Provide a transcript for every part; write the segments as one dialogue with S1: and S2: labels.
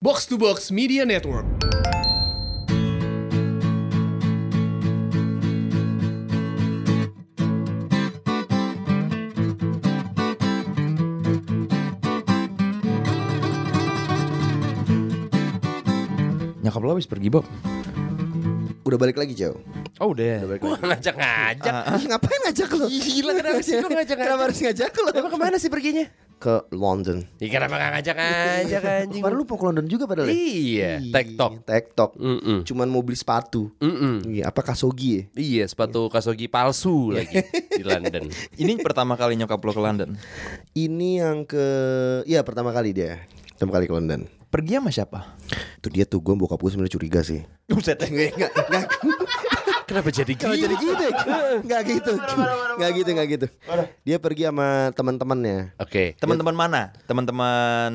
S1: Box to Box Media Network.
S2: Nyakap lo habis pergi Bob
S3: Udah balik lagi jauh.
S2: Oh udah
S3: Balik lagi.
S4: ngajak-ngajak.
S3: Ih, ngapain ngajak lo?
S4: Gila, kenapa sih gua ngajak-ngajak?
S3: Kenapa harus ngajak lo?
S4: Emang kemana sih perginya?
S3: Ke London.
S4: Ya kenapa gak ngajak-ngajak
S2: kan?
S4: anjing?
S3: Kemarin lu mau ke London juga padahal ya?
S4: Iya, TikTok.
S3: Tektok.
S4: Mm-mm.
S3: Cuman mau beli sepatu.
S4: Mm-mm.
S3: Iya, apa Kasogi ya?
S4: Iya, sepatu Kasogi palsu
S2: Iya.
S4: lagi di London.
S2: Ini pertama kali nyokap lo ke London
S3: Ini yang ke Iya pertama kali dia Pertama kali ke London
S2: Pergi sama siapa?
S3: Tuh dia tuh gue bokap gue sebenarnya curiga sih
S2: Buset
S3: Nggak nggak nggak
S4: Kenapa jadi
S3: Kenapa
S4: gini?
S3: jadi gitu ya? Nggak gitu Nggak gitu nggak gitu Dia pergi sama teman-temannya
S4: Oke.
S2: Teman-teman mana? Teman-teman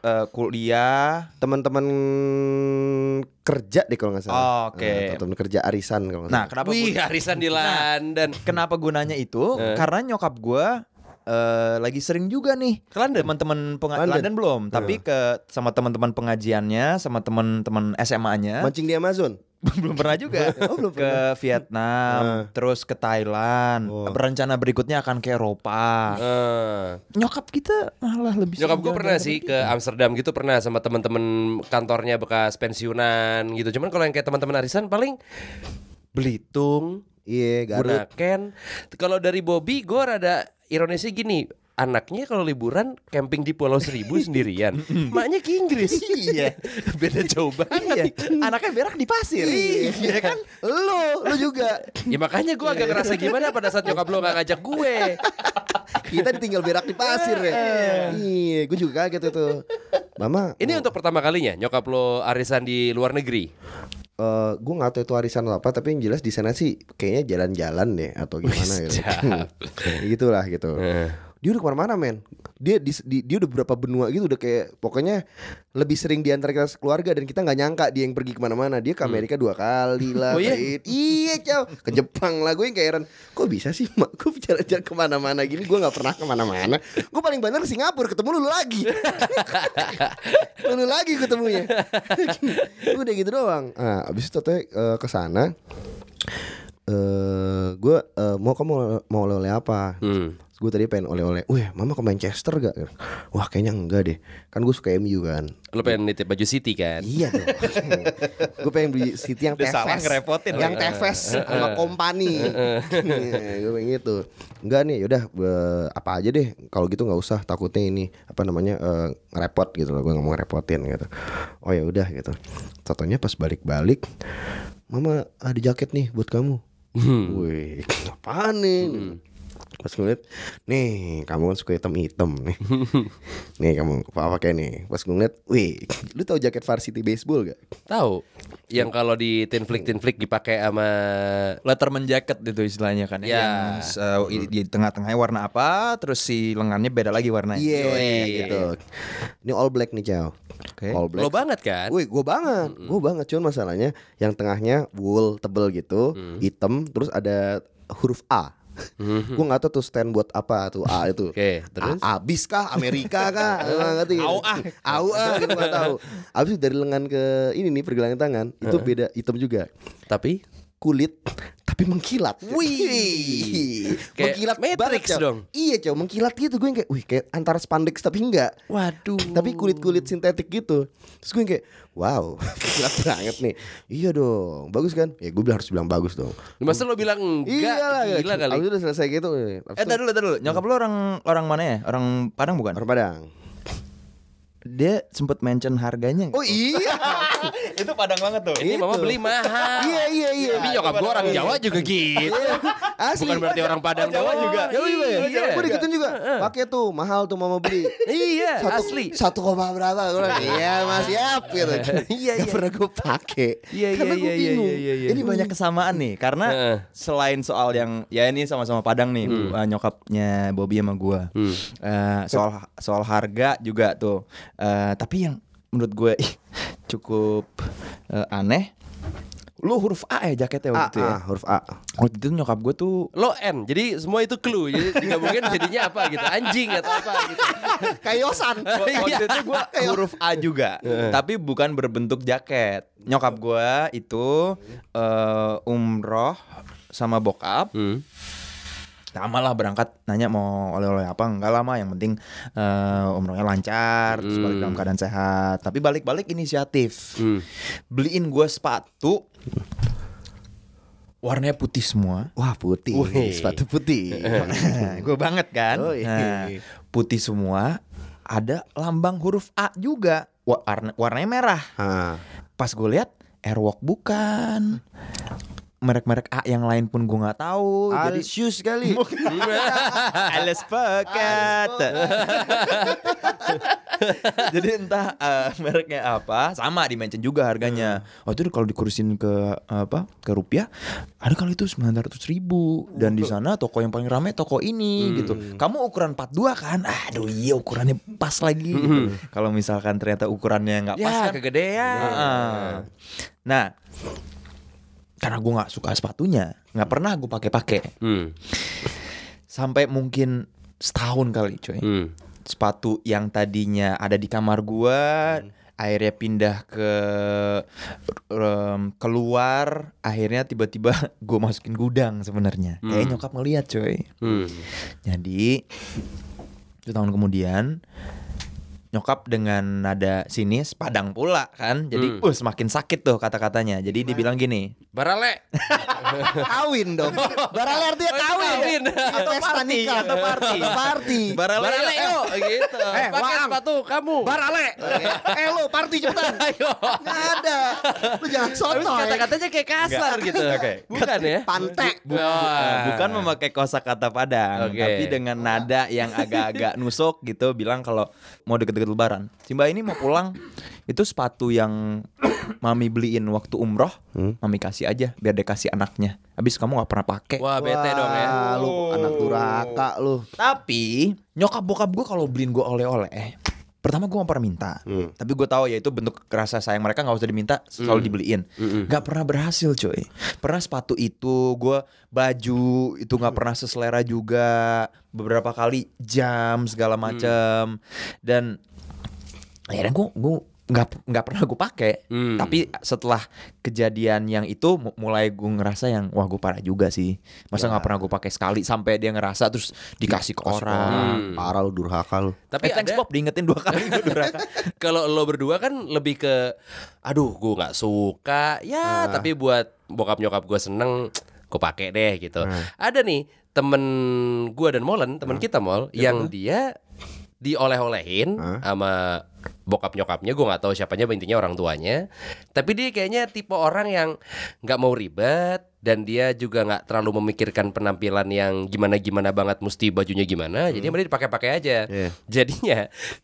S2: eh, kuliah
S3: Teman-teman kerja deh kalau nggak salah
S2: Oke.
S3: Eh, Teman kerja arisan kalau nggak
S2: Nah
S3: salah
S2: kenapa
S4: Wih,
S2: gue,
S4: harisan di London.
S2: kenapa gue nanya itu?
S4: Eh.
S2: Karena nyokap gue lagi sering juga nih
S4: Ke London?
S2: teman-teman penga-
S3: London.
S2: London Iya. belum tapi ke sama teman-teman pengajiannya sama teman-teman SMA-nya
S3: Mancing di Amazon
S2: Oh, belum Eh. pernah juga ke Vietnam terus ke Thailand
S3: Oh.
S2: berencana berikutnya akan ke Eropa
S4: Eh,
S2: nyokap kita malah lebih
S4: nyokap gue
S2: sering
S4: pernah
S2: jalan-jalan
S4: sih
S2: pergi.
S4: ke Amsterdam gitu pernah sama temen-temen kantornya bekas pensiunan gitu. Cuman kalau yang kayak teman-teman arisan paling Belitung,
S3: Iya Garut
S4: Bunaken. Kalau dari Bobby, gue rada ironisnya gini. Anaknya kalau liburan camping di Pulau Seribu sendirian, maknya ke Inggris. Iya, beda jauh banget.
S2: Iya. anaknya berak di pasir
S3: Iya kan Lu Lu juga
S4: Ya makanya gue agak ngerasa gimana pada saat nyokap lo gak ngajak gue.
S3: Kita ditinggal berak di pasir ya Iya Gue juga kaget itu Mama
S4: Ini untuk pertama kalinya nyokap lo arisan di luar negeri.
S3: eh gue nggak tahu itu arisan atau apa tapi yang jelas di sana sih kayaknya jalan-jalan deh atau gimana gitu
S4: siap.
S3: gitulah gitu dia udah kemana-mana men dia di, di- dia udah berapa benua gitu udah kayak pokoknya lebih sering diantar kita sekeluarga dan kita nggak nyangka dia yang pergi kemana-mana dia ke Amerika dua kali lah
S4: Hmm. Oh iya?
S3: ke- iya cow ke Jepang lah gue yang kayak heran kok bisa sih mak gue jalan-jalan kemana-mana gini gue nggak pernah kemana-mana gue paling banter ke Singapura ketemu lu lagi Lalu lagi ketemunya Udah gitu doang nah, Abis itu teh ke sana eh Gue eh, mau kamu ole- mau oleh-oleh apa
S4: Hmm.
S3: Gue tadi pengen oleh-oleh Wih mama ke Manchester gak Wah kayaknya enggak deh Kan gue suka MU kan
S4: Lo pengen nitip baju City kan?
S3: Iya dong Gue pengen beli City yang
S2: Udah
S3: tefes
S2: salah ngerepotin
S3: Yang
S2: lagi.
S3: tefes Sama kompani Gue pengen gitu Enggak nih yaudah be- Apa aja deh Kalau gitu nggak usah Takutnya ini Apa namanya eh, Ngerepot gitu loh Gue nggak mau ngerepotin gitu Oh ya udah gitu Contohnya pas balik-balik Mama ada jaket nih buat kamu
S2: Hmm.
S3: Wih Apaan nih Pas ngeliat Nih kamu kan suka hitam-hitam nih Nih kamu pakai nih Pas gue ngeliat Wih Lu tahu jaket varsity baseball gak?
S4: Tahu? Yang kalau di tin flick tin flick dipakai sama
S2: Letterman jacket itu istilanya kan
S4: Ya.
S2: ya. Yang, uh, i- di tengah-tengahnya warna apa, terus si lengannya beda lagi warnanya.
S3: Iya gitu. Ini all black nih Cao.
S2: Oke.
S3: All black.
S4: lo banget kan?
S3: Wih, gue banget, gue banget. Cuman masalahnya yang tengahnya wool tebel gitu, hitam, terus ada huruf A. gue nggak tahu tuh stand buat apa tuh A itu.
S4: Oke, terus?
S3: A, abis kah? Amerika kah? Gua nggak ngerti. Au ah, au ah, gitu nggak tahu. Abis itu dari lengan ke ini nih pergelangan tangan itu beda hitam juga
S4: Tapi
S3: kulit tapi mengkilat. Wih.
S4: Kayak
S3: mengkilat
S4: Matrix
S3: banget, Cao.
S4: dong.
S3: Iya, Cao, mengkilat gitu gue yang kayak wih kayak antara spandex tapi enggak.
S4: Waduh.
S3: Tapi kulit-kulit sintetik gitu. Terus gue yang kayak wow, mengkilat banget nih. Iya dong, bagus kan? Ya gue bilang harus bilang bagus dong.
S4: Masa lo bilang enggak?
S3: Iyalah,
S4: Gila kali.
S3: Abis itu udah selesai gitu. eh, abis
S2: Eh,
S3: itu
S2: tar dulu, tar dulu. Nyokap lo orang orang mana ya? Orang Padang bukan?
S3: Orang Padang.
S2: Dia sempet mention harganya nggak?
S3: Oh iya.
S2: itu Padang banget tuh.
S4: Ini mama
S3: Itu.
S4: beli mahal.
S3: gitu. Iya, iya, iya.
S4: Tapi nyokap gue orang Jawa juga gitu.
S3: Asli.
S4: Bukan berarti orang Padang
S2: Jawa
S4: doang.
S2: juga.
S3: Jawa juga ya?
S4: Iya.
S3: Gue digituin juga. Pakai tuh, mahal tuh mama beli.
S4: Iya,
S3: Satu-
S4: asli.
S3: Satu koma berapa? Gue bilang, iya mas, siap gitu. Iya, iya. pernah gue pakai.
S2: Iya iya
S3: Karena
S2: iya
S3: gue
S2: iya
S3: bingung.
S2: iya iya. Ini banyak kesamaan nih karena
S4: Heeh.
S2: selain soal yang ya ini sama-sama Padang nih
S3: Hmm.
S2: eh, nyokapnya Bobby sama gua. Eh, soal soal harga juga tuh. Eh, tapi yang menurut gue ih, cukup eh, aneh Lu huruf A ya jaketnya
S3: A,
S2: waktu itu ya?
S3: A, gitu huruf A.
S2: Waktu itu nyokap gue tuh
S4: Lo N, jadi semua itu clue. Jadi nggak mungkin jadinya apa gitu, anjing atau apa gitu.
S3: Kayosan.
S2: Waktu itu gue huruf A juga Tapi bukan berbentuk jaket Nyokap gue itu eh, Umroh sama bokap Lama lah berangkat nanya mau oleh-oleh apa Enggak lama yang penting eh, umrohnya lancar Terus balik dalam keadaan sehat Tapi balik-balik inisiatif Beliin gue sepatu Warnanya putih semua
S3: Wah putih,
S4: Wih.
S3: sepatu putih.
S2: Gue banget kan
S3: Oh, iya.
S2: Nah, Putih semua Ada lambang huruf A juga Wa- warna, Warnanya merah
S3: Ah,
S2: Pas gue lihat Airwalk bukan Merek-merek A yang lain pun gue gak tahu Jadi
S3: Alsius kali. Iya.
S2: Alice Pocket Jadi entah eh, mereknya apa Sama di mention juga harganya
S4: Hmm.
S2: Waktu itu kalau dikurusin ke apa ke rupiah Ada kali itu 900 ribu Dan di sana toko yang paling rame toko
S4: Hmm.
S2: ini gitu Kamu ukuran 42 kan Aduh iya ukurannya pas lagi gitu. Kalau misalkan ternyata ukurannya nggak pas
S4: Hmm. Ya,
S2: kan
S4: kegedean. Iya.
S2: Heeh. Nah Karena gue nggak suka sepatunya nggak pernah gue pakai-pakai
S4: Hmm.
S2: sampai mungkin setahun kali coy
S4: Hmm.
S2: sepatu yang tadinya ada di kamar gua akhirnya pindah ke em, keluar akhirnya tiba-tiba gua masukin gudang sebenarnya eh nyokap ngeliat coy
S4: Hmm.
S2: jadi itu tahun kemudian nyokap dengan nada sinis padang pula kan jadi uh, semakin sakit tuh kata-katanya jadi dibilang gini
S4: Barale.
S3: Kawin dong. Barale artinya
S4: Oh, itu
S3: kawin.
S4: kawin.
S3: Atau pesta nikah. Atau party. party.
S4: Barale yo gitu.
S3: Eh,
S4: Pakai
S3: waam.
S4: sepatu kamu.
S3: Barale. eh lo party cepetan.
S4: Ayo.
S3: Nggak ada. Lu jangan
S4: Tapi
S3: sotoy.
S4: kata-katanya kayak kasar gitu.
S2: Oke.
S4: Bukan ya?
S3: Pantek.
S2: Nah, bukan memakai kosakata Padang,
S4: Oke.
S2: tapi dengan nada yang agak-agak nusuk gitu bilang kalau mau deket-deket lebaran. Simba ini mau pulang. Itu sepatu yang mami beliin waktu umroh, mami kasih aja biar dia kasih anaknya. Habis kamu nggak pernah pakai.
S4: Wah, bete dong ya.
S3: Wah, Lu anak duraka lu.
S2: Tapi nyokap bokap gue kalau beliin gue oleh-oleh eh, Pertama gue gak pernah minta Tapi gue tahu ya itu bentuk rasa sayang mereka gak usah diminta Selalu dibeliin Gak pernah berhasil coy Pernah sepatu itu Gue baju itu gak pernah seselera juga Beberapa kali jam segala macem Dan akhirnya gue gue nggak nggak pernah gue pakai
S4: Hmm.
S2: tapi setelah kejadian yang itu mu- mulai gue ngerasa yang wah gue parah juga sih masa nggak pernah gue pakai sekali sampai dia ngerasa terus dikasih ke orang
S3: Orang. Parah lu durhaka lu.
S4: Tapi
S2: Eh, thanks
S4: ada
S2: Bob diingetin dua kali gue durhaka.
S4: kalau lo berdua kan lebih ke aduh gue nggak suka
S3: Ah.
S4: ya tapi buat bokap nyokap gue seneng gue pakai deh gitu
S3: Ah.
S4: ada nih temen gue dan Molen temen kita Mol yang dia dioleh-olehin sama bokap nyokapnya gue nggak tahu siapanya intinya orang tuanya tapi dia kayaknya tipe orang yang nggak mau ribet dan dia juga nggak terlalu memikirkan penampilan yang gimana gimana banget mesti bajunya gimana jadi mending dipakai-pakai aja
S3: Iya.
S4: Jadinya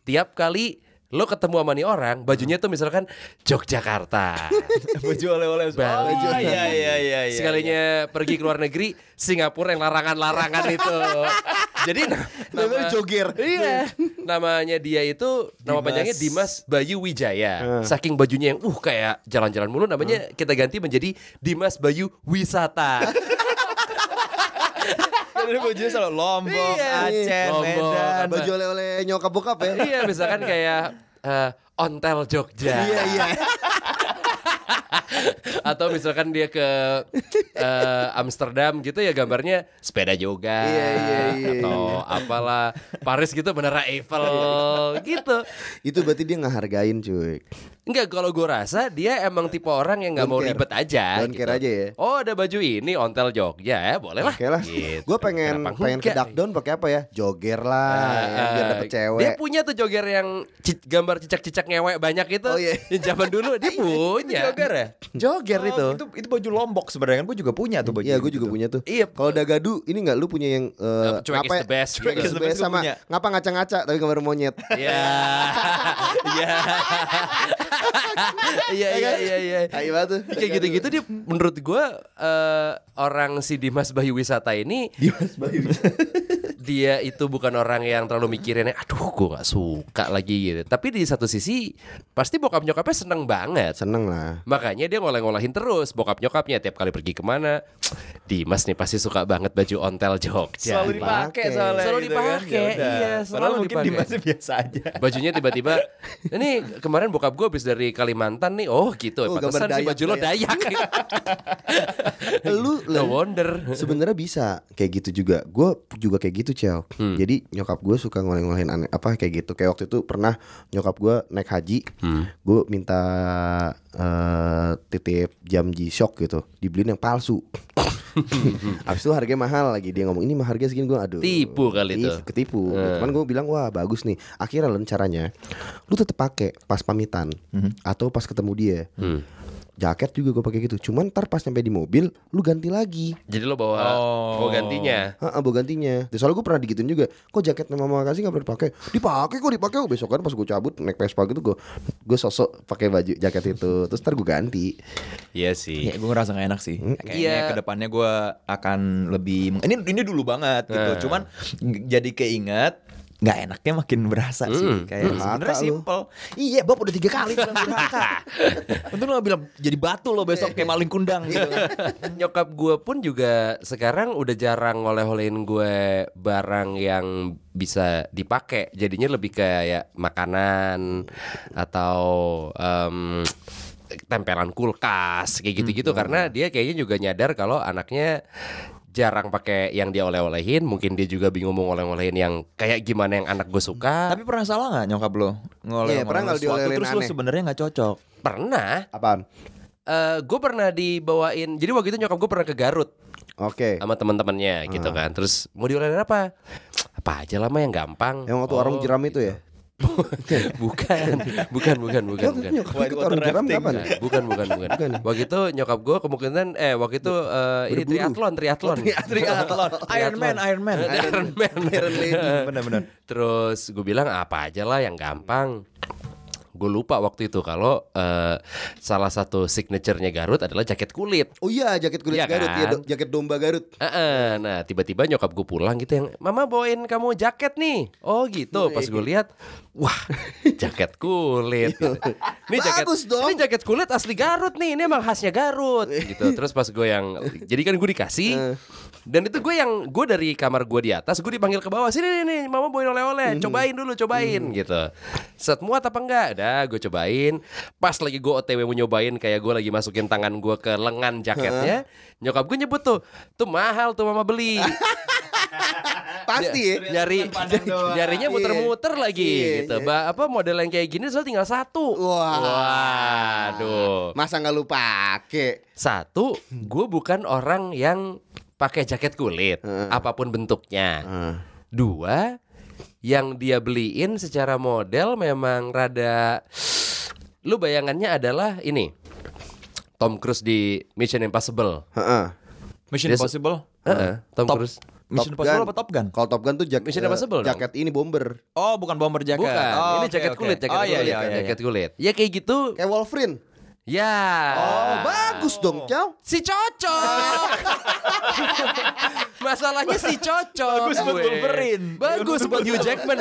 S4: tiap kali lo ketemu sama nih orang, bajunya tuh misalkan Yogyakarta.
S2: baju oleh-oleh
S4: Bali.
S2: Oh, iya iya iya iya.
S4: Sekalinya pergi ke luar negeri, Singapura yang larangan-larangan itu. Jadi na- nama,
S3: Namanya Joger.
S4: Iya. Namanya dia itu
S2: Dimas.
S4: nama panjangnya Dimas Bayu Wijaya.
S3: Ah.
S4: Saking bajunya yang uh kayak jalan-jalan mulu namanya kita ganti menjadi Dimas Bayu Wisata.
S2: Jadi bajunya selalu Lombok,
S4: Iya.
S2: Aceh,
S4: Lombok,
S2: Medan.
S3: Baju oleh-oleh nyokap bokap ya.
S4: iya, misalkan kayak eh, Ontel Jogja.
S3: Iya iya.
S4: atau misalkan dia ke eh, Amsterdam gitu ya gambarnya sepeda juga
S3: Iya, iya, iya.
S4: atau apalah Paris gitu menara Eiffel
S3: Iya.
S4: gitu
S3: Itu berarti dia ngehargain cuy.
S4: Enggak kalau gue rasa dia emang tipe orang yang nggak
S3: Don't
S4: mau
S3: care.
S4: ribet aja
S3: Don't care aja ya.
S4: oh ada baju ini ontel Jogja ya boleh lah
S3: Oke lah.
S4: Gitu.
S3: Gue pengen
S4: Kenapa
S3: pengen ke
S4: enggak?
S3: duckdown pakai apa ya? Joger lah. ya,
S4: Ah,
S3: biar
S4: ah.
S3: dapet cewek.
S4: Dia punya tuh jogger yang ci- gambar cicak-cicak ngewek banyak itu.
S3: Oh, iya.
S4: Yang zaman dulu dia punya.
S2: Jogger ya?
S3: Joger
S2: Oh,
S3: itu.
S2: itu itu baju Lombok sebenarnya kan gue juga punya tuh baju.
S3: Iya, gue
S2: gitu
S3: juga
S2: tuh.
S3: punya tuh.
S4: Iya.
S3: Kalau dagadu ini nggak lu punya yang eh,
S4: Cuek is the best.
S3: Cuek is the best
S2: gua
S3: sama
S2: punya.
S3: ngapa ngaca-ngaca tapi gambar monyet.
S4: Iya. Iya. Iya iya iya iya.
S3: Tai banget tuh.
S4: Kayak gitu-gitu dia menurut gua eh, orang si Dimas Bayu Wisata ini
S2: Dimas Bayu.
S4: dia itu bukan orang yang terlalu mikirin aduh gue nggak suka lagi gitu tapi di satu sisi pasti bokap nyokapnya seneng banget
S3: seneng lah
S4: Makanya dia ngolah-ngolahin terus bokap nyokapnya tiap kali pergi kemana. Dimas nih pasti suka banget baju ontel Jogja. Iya,
S2: Selalu dipakai
S3: Dipakai.
S2: soalnya.
S4: Selalu
S2: gitu kan.
S4: dipakai,
S2: Ya udah.
S4: iya,
S2: Padahal
S4: selalu
S2: mungkin
S4: dipakai.
S2: Dimasnya biasa aja.
S4: Bajunya tiba-tiba Ini kemarin bokap gue habis dari Kalimantan nih Oh gitu
S3: Oh,
S4: oh,
S3: gambar
S4: Pantesan sih
S3: Dayak,
S4: baju lo dayak
S3: lu
S4: No
S3: Len,
S4: wonder
S3: sebenarnya bisa kayak gitu juga gue juga kayak gitu cel jadi nyokap gue suka ngoleh-ngolehin aneh apa kayak gitu kayak waktu itu pernah nyokap gue naik haji gue minta eh, titip jam G Shock gitu dibeliin yang palsu abis itu harganya mahal lagi dia ngomong ini mah harganya segini gue aduh
S4: Tipu kali
S3: Ih,
S4: tuh.
S3: ketipu Gitu. cuman gue bilang wah bagus nih akhirnya Len caranya lu tetap pakai pas pamitan atau pas ketemu dia jaket juga gue pakai gitu cuman ntar pas nyampe di mobil lu ganti lagi
S4: Jadi lo bawa
S2: Oh.
S4: bawa gantinya
S3: Heeh, bawa gantinya. Dan soalnya gue pernah digituin juga. Kok jaketnya mama kasih nggak pernah dipakai? Dipakai kok dipakai. Besok kan pas gue cabut naik Vespa gitu gue gue sosok pakai baju jaket itu. Terus ntar gue ganti.
S4: Iya sih
S2: Ya, gue ngerasa gak enak sih. Kayaknya
S4: Iya.
S2: kedepannya gue akan lebih ini ini dulu banget gitu. Cuman g- jadi keinget nggak enaknya makin berasa sih kayak sebenarnya
S3: Mata lu.
S2: simpel iya bab udah tiga kali bilang durhaka untung lo bilang jadi batu lo besok kayak maling kundang gitu
S4: Nyokap gue pun juga sekarang udah jarang oleh-olehin gue barang yang bisa dipakai. Jadinya lebih kayak makanan atau em, tempelan kulkas kayak gitu-gitu karena dia kayaknya juga nyadar kalau anaknya jarang pakai yang dia oleh-olehin. Mungkin dia juga bingung mau oleh-olehin yang kayak gimana yang anak gue suka.
S2: tapi pernah salah nggak nyokap lo ngoleh
S3: Iya, pernah nggak diolehin
S2: terus lo
S3: aneh?
S2: sebenarnya nggak cocok
S4: Pernah,
S3: Apaan?
S4: eh gue pernah dibawain. Jadi waktu itu nyokap gue pernah ke Garut.
S3: Oke.
S4: sama teman-temannya gitu kan. Terus mau diolehin apa? Apa aja lama yang gampang.
S3: Yang waktu
S4: Oh,
S3: orang jeram itu ya.
S4: bukan, bukan, bukan, bukan,
S3: Waktu
S4: bukan.
S3: itu nyokap ikut orang jeram kapan?
S4: Bukan, bukan, bukan, bukan. Waktu itu nyokap gue kemungkinan eh waktu itu eh, ini
S3: Berburu. Oh,
S4: triathlon, triathlon.
S2: Iya, triathlon Iron Man Iron Man
S4: Iron Man.
S2: bener-bener
S4: Terus gue bilang apa aja lah yang gampang. Gue lupa waktu itu kalau eh, salah satu signaturenya Garut adalah jaket kulit.
S3: Oh iya jaket kulit
S4: Iya
S3: Garut,
S4: kan?
S3: iya, do- jaket domba Garut.
S4: Heeh, nah tiba-tiba nyokap gue pulang gitu yang Mama bawain kamu jaket nih Oh gitu pas gue lihat Wah jaket kulit gitu. Ini
S3: Iya.
S4: jaket
S3: Bagus dong.
S4: Ini jaket kulit asli Garut nih Ini emang khasnya Garut gitu Terus pas gue yang Jadi kan gue dikasih Dan itu gue yang Gue dari kamar gue di atas Gue dipanggil ke bawah Sini nih, nih mama bawain oleh-oleh Cobain dulu cobain gitu Set muat apa enggak Dah gue cobain Pas lagi gue otw mau nyobain Kayak gue lagi masukin tangan gue ke lengan jaketnya Nyokap gue nyebut tuh Tuh mahal tuh mama beli
S3: Pasti ya.
S4: nyari nyarinya muter-muter
S3: Iya,
S4: lagi gitu. Ba- apa model yang kayak gini soalnya tinggal satu.
S3: Wah.
S4: Waduh.
S3: Masa nggak lu pake?
S4: Satu, gue bukan orang yang pakai jaket kulit apapun bentuknya. Dua, yang dia beliin secara model memang rada lu bayangannya adalah ini. Tom Cruise di Mission Impossible.
S3: Heeh.
S2: Mission
S4: Dia se-
S2: Impossible
S4: Heeh, Tom
S2: Top.
S4: Cruise.
S2: Mission Impossible apa Top Gun
S3: Kalau Top Gun tuh jak-
S4: Mission
S3: eh,
S4: Impossible dong.
S3: jaket ini bomber.
S2: Oh, bukan bomber jaket.
S4: Bukan,
S2: Oh,
S4: ini
S2: oke,
S4: jaket
S2: oke.
S4: kulit, jaket
S2: oh, iya,
S4: kulit,
S2: iya, iya,
S4: jaket kulit. Ya kayak gitu.
S3: Kayak Wolverine.
S4: Ya.
S3: Oh, bagus dong, Ciao.
S4: Si cocok. Masalahnya si cocok.
S2: Bagus buat
S4: gue.
S2: Wolverine.
S4: Bagus buat Hugh Jackman.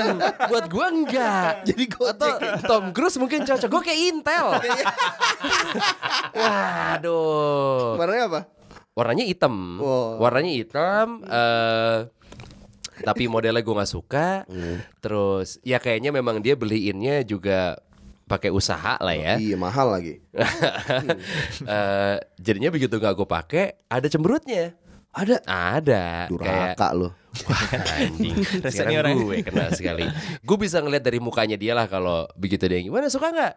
S4: Buat gua enggak.
S3: Jadi gojek.
S4: Atau Tom Cruise mungkin cocok. Gue kayak Intel. Waduh.
S3: Warnanya apa?
S4: Warnanya hitam.
S3: Wow.
S4: Warnanya hitam. eh, tapi modelnya gue nggak suka.
S3: Hmm.
S4: Terus ya kayaknya memang dia beliinnya juga pakai usaha lah ya.
S3: Iya mahal lagi.
S4: Eh, jadinya begitu nggak gue pakai ada cemberutnya ada ada kayak
S3: Durhaka lo.
S4: wah anjing
S2: Rasanya
S4: sekarang
S2: orang-
S4: gue kena sekali gue bisa ngeliat dari mukanya dia lah kalau begitu dia gimana suka nggak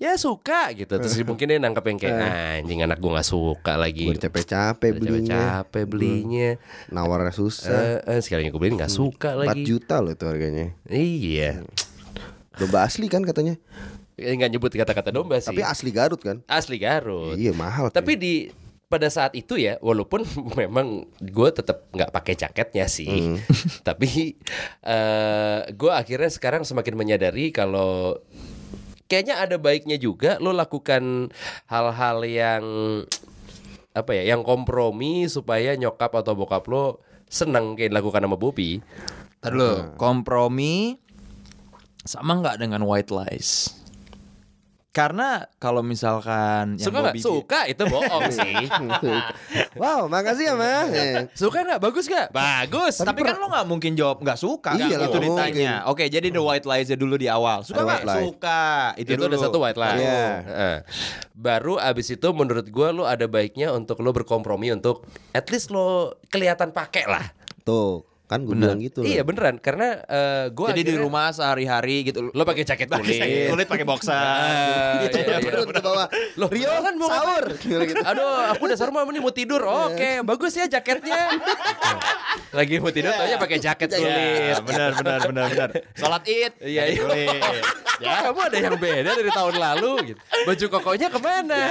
S4: ya suka gitu terus mungkin dia nangkep yang
S3: Eh.
S4: kayak "Ah, anjing anak gue nggak suka lagi
S3: Gue udah capek-capek
S4: Udah
S3: belinya.
S4: iya, capek belinya
S3: Nawarnya susah.
S4: Eh, eh, sekalinya gue beliin nggak
S3: Hmm.
S4: suka
S3: 4
S4: lagi
S3: juta loh itu harganya.
S4: iya
S3: Domba asli kan katanya.
S4: Eh, nggak nyebut kata-kata domba sih
S3: Tapi asli Garut kan?
S4: asli Garut
S3: Iya mahal.
S4: Tapi di pada saat itu ya, walaupun memang gue tetap nggak pakai jaketnya sih, tapi eh gue akhirnya sekarang semakin menyadari kalau kayaknya ada baiknya juga lo lakukan hal-hal yang apa ya, yang kompromi supaya nyokap atau bokap lo senang kayak dilakukan sama Bobby.
S2: Tadi dulu, kompromi sama nggak dengan white lies? Karena kalau misalkan yang
S4: suka nggak?
S2: Bobby-
S4: Suka itu bohong sih.
S3: wow, makasih ya, Ma. Eh,
S2: Suka nggak? Bagus nggak?
S4: Bagus.
S2: Tapi, kan lo nggak mungkin jawab nggak suka.
S3: Iya
S2: Nggak
S3: lah,
S2: itu
S3: nggak
S2: ditanya. Oke, jadi the white lies dulu di awal. Suka
S3: Ada
S2: nggak?
S3: white lies.
S2: Suka. Itu,
S4: itu,
S2: dulu.
S4: udah satu white line.
S3: Iya.
S4: Heeh. Baru abis itu menurut gua lu ada baiknya untuk lu berkompromi untuk at least lo kelihatan pakai lah.
S3: Tuh, kan gue bilang gitu.
S4: Iya
S3: loh.
S4: beneran karena eh, gua
S2: Jadi di
S4: akhirnya-
S2: rumah sehari-hari gitu.
S4: lo pakai jaket kulit.
S2: Kulit pakai boxer.
S4: Ah,
S3: Gitu,
S4: iya, iya.
S3: turun ke bawah.
S4: Loh,
S3: Rio
S4: kan mau
S3: sahur. Gitu, gitu.
S4: Aduh, aku udah sahur malam ini mau tidur. Oke, bagus ya jaketnya. Lagi mau tidur, taunya pakai jaket kulit.
S2: benar benar benar benar. Salat Id.
S4: Iya, iya. Ya. kamu ada yang beda dari tahun lalu gitu. Baju kokonya kemana?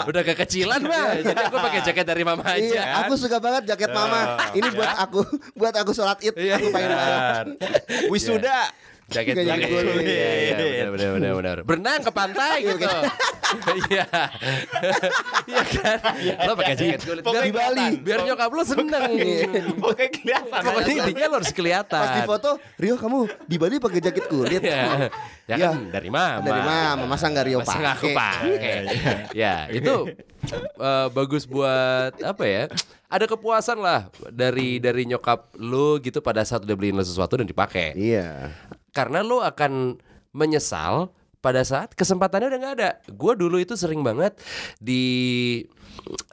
S4: Ma- Udah kekecilan mah. Jadi aku pakai jaket dari mama aja.
S3: Ya.
S4: kan. Iya.
S3: Iya, aku suka banget jaket mama. Ini buat aku, buat aku sholat id. Aku pengen banget.
S2: Wisuda.
S4: Jaket
S3: Nggak jaket
S4: kulit.
S3: kulit.
S4: Iya, iya, benar, benar, benar, benar. Berenang ke pantai gitu.
S3: kan?
S4: Iya. Iya kan? Lo pakai jaket kulit. Biar
S3: iya. Di Bali.
S4: biar nyokap lo seneng.
S1: Oke, kelihatan.
S4: Pokoknya intinya lo harus kelihatan.
S3: Pas di foto, Rio kamu di Bali pakai jaket kulit.
S4: Ya, ya
S3: Ya.
S4: kan dari mama.
S3: Dari mama, masa nggak Rio
S4: Masa nggak aku
S3: pakai? Iya,
S4: pakai. ya, itu eh, bagus buat apa ya? Ada kepuasan lah dari dari nyokap lu gitu pada saat udah beliin lu sesuatu dan dipakai.
S3: Iya.
S4: Karena lu akan menyesal pada saat kesempatannya udah nggak ada. Gue dulu itu sering banget di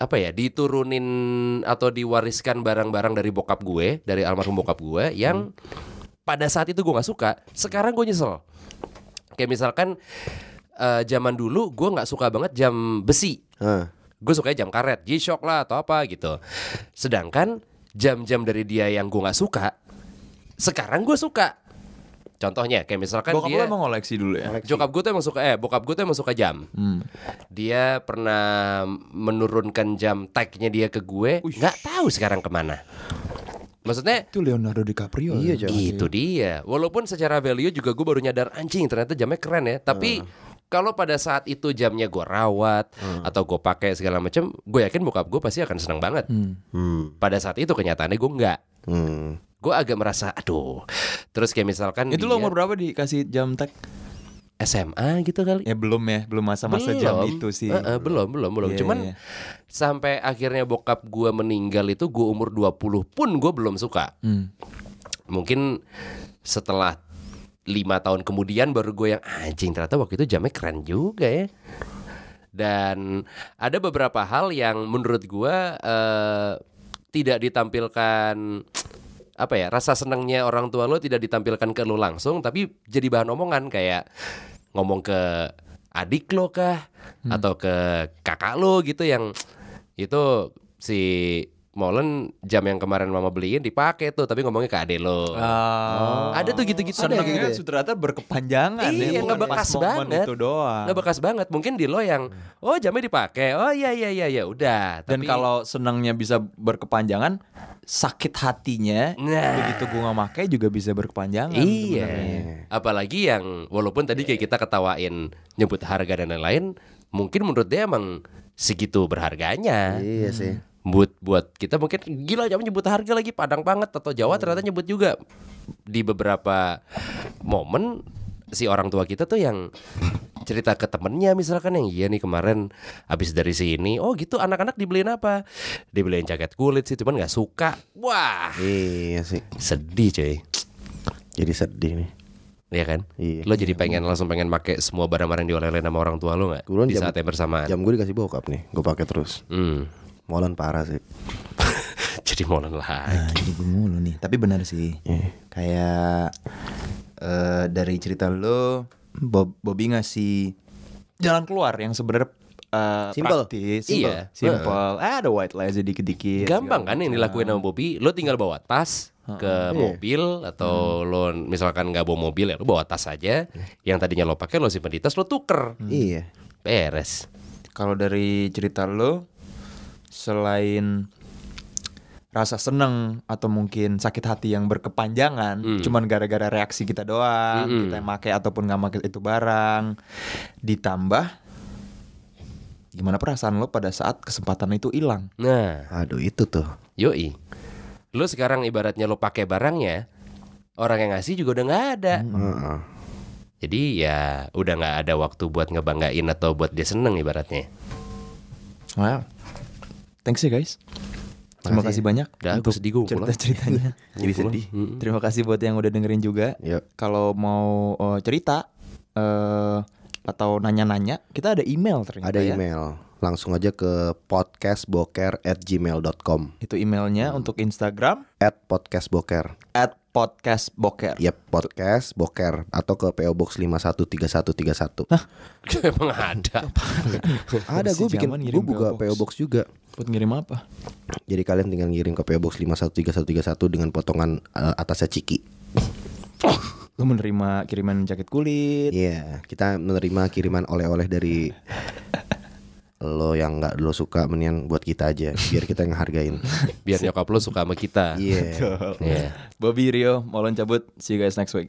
S4: apa ya diturunin atau diwariskan barang-barang dari bokap gue dari almarhum bokap gue yang pada saat itu gue nggak suka. Sekarang gue nyesel. Kayak misalkan eh, zaman dulu gue nggak suka banget jam besi.
S3: Hah.
S4: Gue suka jam karet, G-Shock lah atau apa gitu. Sedangkan jam-jam dari dia yang gue nggak suka, sekarang gue suka. Contohnya kayak misalkan
S2: Bokap
S4: dia
S2: lu emang ngoleksi dulu ya.
S4: Jokap gue tuh emang suka eh bokap gue tuh emang suka jam.
S2: Hmm.
S4: Dia pernah menurunkan jam tagnya dia ke gue, nggak tahu sekarang kemana. Maksudnya
S2: Itu Leonardo DiCaprio. Iya,
S3: Jangan
S4: itu Gitu dia. Walaupun secara value juga gue baru nyadar anjing ternyata jamnya keren ya. Tapi kalau pada saat itu jamnya gue rawat atau gue pakai segala macam, gue yakin bokap gue pasti akan senang banget.
S3: Hmm.
S4: Pada saat itu kenyataannya gue nggak.
S3: Hmm.
S4: Gue agak merasa aduh. Terus kayak misalkan
S2: Itu lo
S4: dia
S2: umur berapa dikasih jam tag?
S4: SMA gitu kali.
S2: Ya belum ya, belum masa-masa jam
S4: Belum.
S2: itu sih.
S4: Eh, eh, belum, belum, belum.
S2: Iya,
S4: Cuman
S2: iya.
S4: sampai akhirnya bokap gue meninggal itu gue umur 20 pun gue belum suka.
S2: Hmm.
S4: Mungkin setelah lima tahun kemudian baru gue yang anjing ternyata waktu itu jamnya keren juga ya. Dan ada beberapa hal yang menurut gue eh, tidak ditampilkan apa ya rasa senangnya orang tua lo tidak ditampilkan ke lo langsung tapi jadi bahan omongan kayak ngomong ke adik lo kah atau ke kakak lo gitu yang itu si Molen jam yang kemarin mama beliin dipakai tuh tapi ngomongnya ke adik lo
S2: Ah, Oh.
S4: ada tuh gitu-gitu ada
S2: Senangnya
S3: gitu ya?
S2: ternyata berkepanjangan
S4: Iya,
S2: ya. bukan
S4: ngebekas
S2: pas momen
S4: banget.
S2: Itu doang.
S4: nggak bekas banget mungkin di lo yang oh jamnya dipakai oh iya iya iya ya udah
S2: Dan
S4: Tapi-
S2: kalau senangnya bisa berkepanjangan, sakit hatinya
S4: Nah.
S2: begitu gua nggak pakai juga bisa berkepanjangan.
S4: Iya.
S2: sebenarnya.
S4: Apalagi yang walaupun tadi kayak kita ketawain nyebut harga dan lain-lain, mungkin menurut dia emang segitu berharganya.
S3: Iya sih.
S4: Buat buat kita mungkin gila jangan nyebut harga lagi Padang banget atau Jawa ternyata nyebut juga di beberapa momen si orang tua kita tuh yang cerita ke temennya misalkan yang iya nih kemarin habis dari sini oh gitu anak-anak dibeliin apa dibeliin jaket kulit sih cuman nggak suka wah
S3: Iya sih.
S4: sedih cuy
S3: Jadi sedih nih.
S4: Iya kan?
S3: Iya.
S4: Lo jadi pengen langsung pengen pakai semua barang-barang yang dioleh-oleh sama orang tua lo nggak?
S3: Kebetulan
S4: Di
S3: jam-
S4: saat yang bersamaan.
S3: Jam gue dikasih bokap nih, gue pakai terus.
S4: Hmm.
S3: Molan parah sih.
S4: jadi molen lagi.
S2: Jadi gue Nah, mulu nih, tapi benar sih.
S3: Iya.
S2: Kayak eh, dari cerita lo, Bob, Bobby ngasih jalan keluar yang sebenarnya eh,
S3: Simple.
S2: praktis,
S4: Iya.
S2: simple. Ah, ada white lies dikit-dikit.
S4: Gampang kan yang dilakuin sama Bobby? Lo tinggal bawa tas ke mobil atau lo misalkan nggak bawa mobil ya lo bawa tas aja yang tadinya lo pakai lo simpen di tas lo tuker
S3: Iya.
S4: beres
S2: Kalau dari cerita lo, selain rasa seneng atau mungkin sakit hati yang berkepanjangan,
S4: Hmm.
S2: cuman gara-gara reaksi kita doang, kita yang make ataupun nggak make itu barang, ditambah gimana perasaan lo pada saat kesempatan itu hilang?
S4: nah
S3: Aduh itu tuh.
S4: yoi Lu sekarang ibaratnya lu pakai barangnya, orang yang ngasih juga udah nggak ada.
S3: Hmm.
S2: Hmm.
S3: Heeh.
S4: Jadi ya udah nggak ada waktu buat ngebanggain atau buat dia seneng ibaratnya.
S2: Wow. Thanks ya guys. Terima kasih banyak.
S4: Udah,
S2: untuk
S4: aku sedih, gua pulang.
S2: Cerita-ceritanya.
S3: Jadi sedih.
S2: Terima kasih buat yang udah dengerin juga.
S3: Gitu Yuk.
S2: Kalau mau eh, cerita eh atau nanya-nanya, kita ada email ternyata
S3: Ada
S2: ya.
S3: email. Langsung aja ke podcastboker@gmail.com
S2: Itu emailnya untuk Instagram
S3: at podcastboker.
S2: at podcastboker.
S3: Yap, podcast boker atau ke PO Box 513131.
S4: Emang ada.
S3: Ada gue
S2: Si
S3: bikin
S2: Jaman ngirim
S3: gue buka
S2: PO
S3: PO
S2: Box.
S3: Box juga.
S2: Buat ngirim apa?
S3: Jadi kalian tinggal ngirim ke PO Box 513131 dengan potongan eh, atasnya ciki.
S2: Lu menerima kiriman jaket kulit.
S3: Iya, kita menerima kiriman oleh-oleh dari lo yang nggak lo suka mendingan buat kita aja biar kita yang ngehargain.
S4: Biar nyokap lu suka sama kita.
S3: Iya.
S4: Iya.
S2: Bobby Rio, Molon cabut. See you guys next week.